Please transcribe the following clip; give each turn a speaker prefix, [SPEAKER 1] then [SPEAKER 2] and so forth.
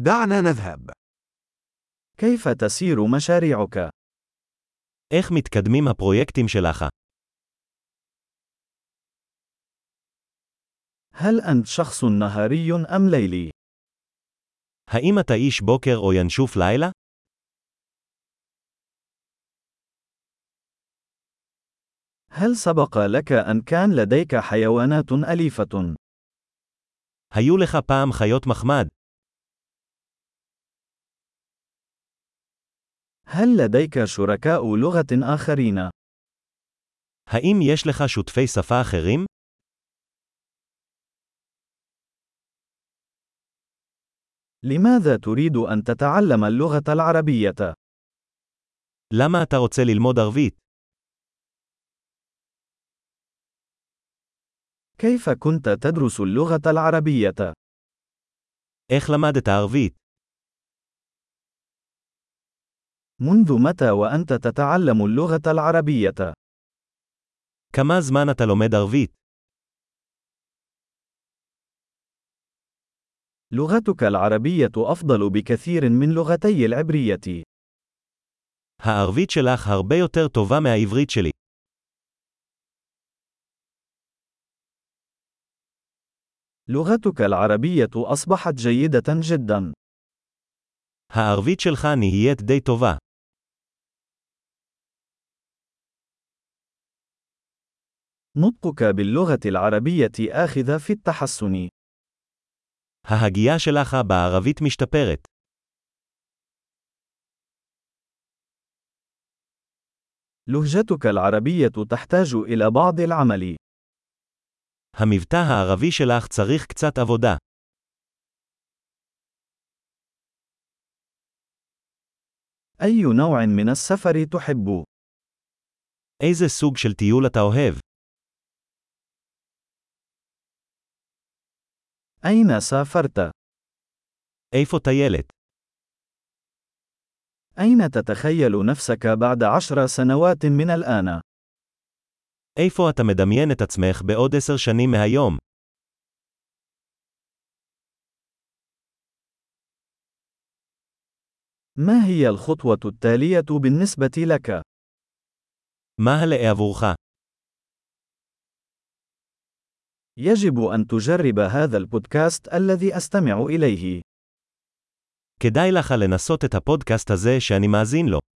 [SPEAKER 1] دعنا نذهب.
[SPEAKER 2] كيف تسير مشاريعك؟
[SPEAKER 3] איך מתקדמים הפרויקטים שלך?
[SPEAKER 2] هل أنت شخص نهاري أم ليلي؟
[SPEAKER 3] האם אתה איש בוקר או ינשוף לילה?
[SPEAKER 2] هل سبق لك أن كان لديك حيوانات أليفة؟
[SPEAKER 3] היו לך פעם חיות מחמד?
[SPEAKER 2] هل لديك شركاء لغة آخرين؟
[SPEAKER 3] האם יש לך שותפי שפה אחרים?
[SPEAKER 2] لماذا تريد أن تتعلم اللغة العربية؟
[SPEAKER 3] למה אתה רוצה ללמוד ערבית?
[SPEAKER 2] كيف كنت تدرس اللغة العربية؟
[SPEAKER 3] איך למדת ערבית?
[SPEAKER 2] منذ متى وأنت تتعلم اللغة العربية؟
[SPEAKER 3] כמה זמן אתה לומד ערבית?
[SPEAKER 2] لغتك العربية أفضل بكثير من لغتي العبرية.
[SPEAKER 3] הערבית שלך הרבה יותר טובה מהעברית שלי.
[SPEAKER 2] لغتك العربية أصبحت جيدة جدا.
[SPEAKER 3] הערבית שלך נהיית די טובה.
[SPEAKER 2] نطقك باللغة العربية آخذ في التحسن.
[SPEAKER 3] ההגייה שלך בערבית משתפרת.
[SPEAKER 2] لهجتك العربية تحتاج إلى بعض العمل.
[SPEAKER 3] המבטא הערבי שלך צריך קצת עבודה.
[SPEAKER 2] أي نوع من السفر تحب؟
[SPEAKER 3] איזה סוג של טיול אתה אוהב?
[SPEAKER 2] أين سافرت؟
[SPEAKER 3] איפה טיילת?
[SPEAKER 2] أين تتخيل نفسك بعد عشر سنوات من الآن؟
[SPEAKER 3] איפה אתה מדמיין את עצמך בעוד עשר שנים מהיום?
[SPEAKER 2] ما هي الخطوة التالية بالنسبة لك؟
[SPEAKER 3] מה הלאה עבורך?
[SPEAKER 2] يجب أن تجرب هذا البودكاست الذي أستمع إليه.
[SPEAKER 3] כדאי לך לנסות את הפודקאסט הזה שאני מאזין לו.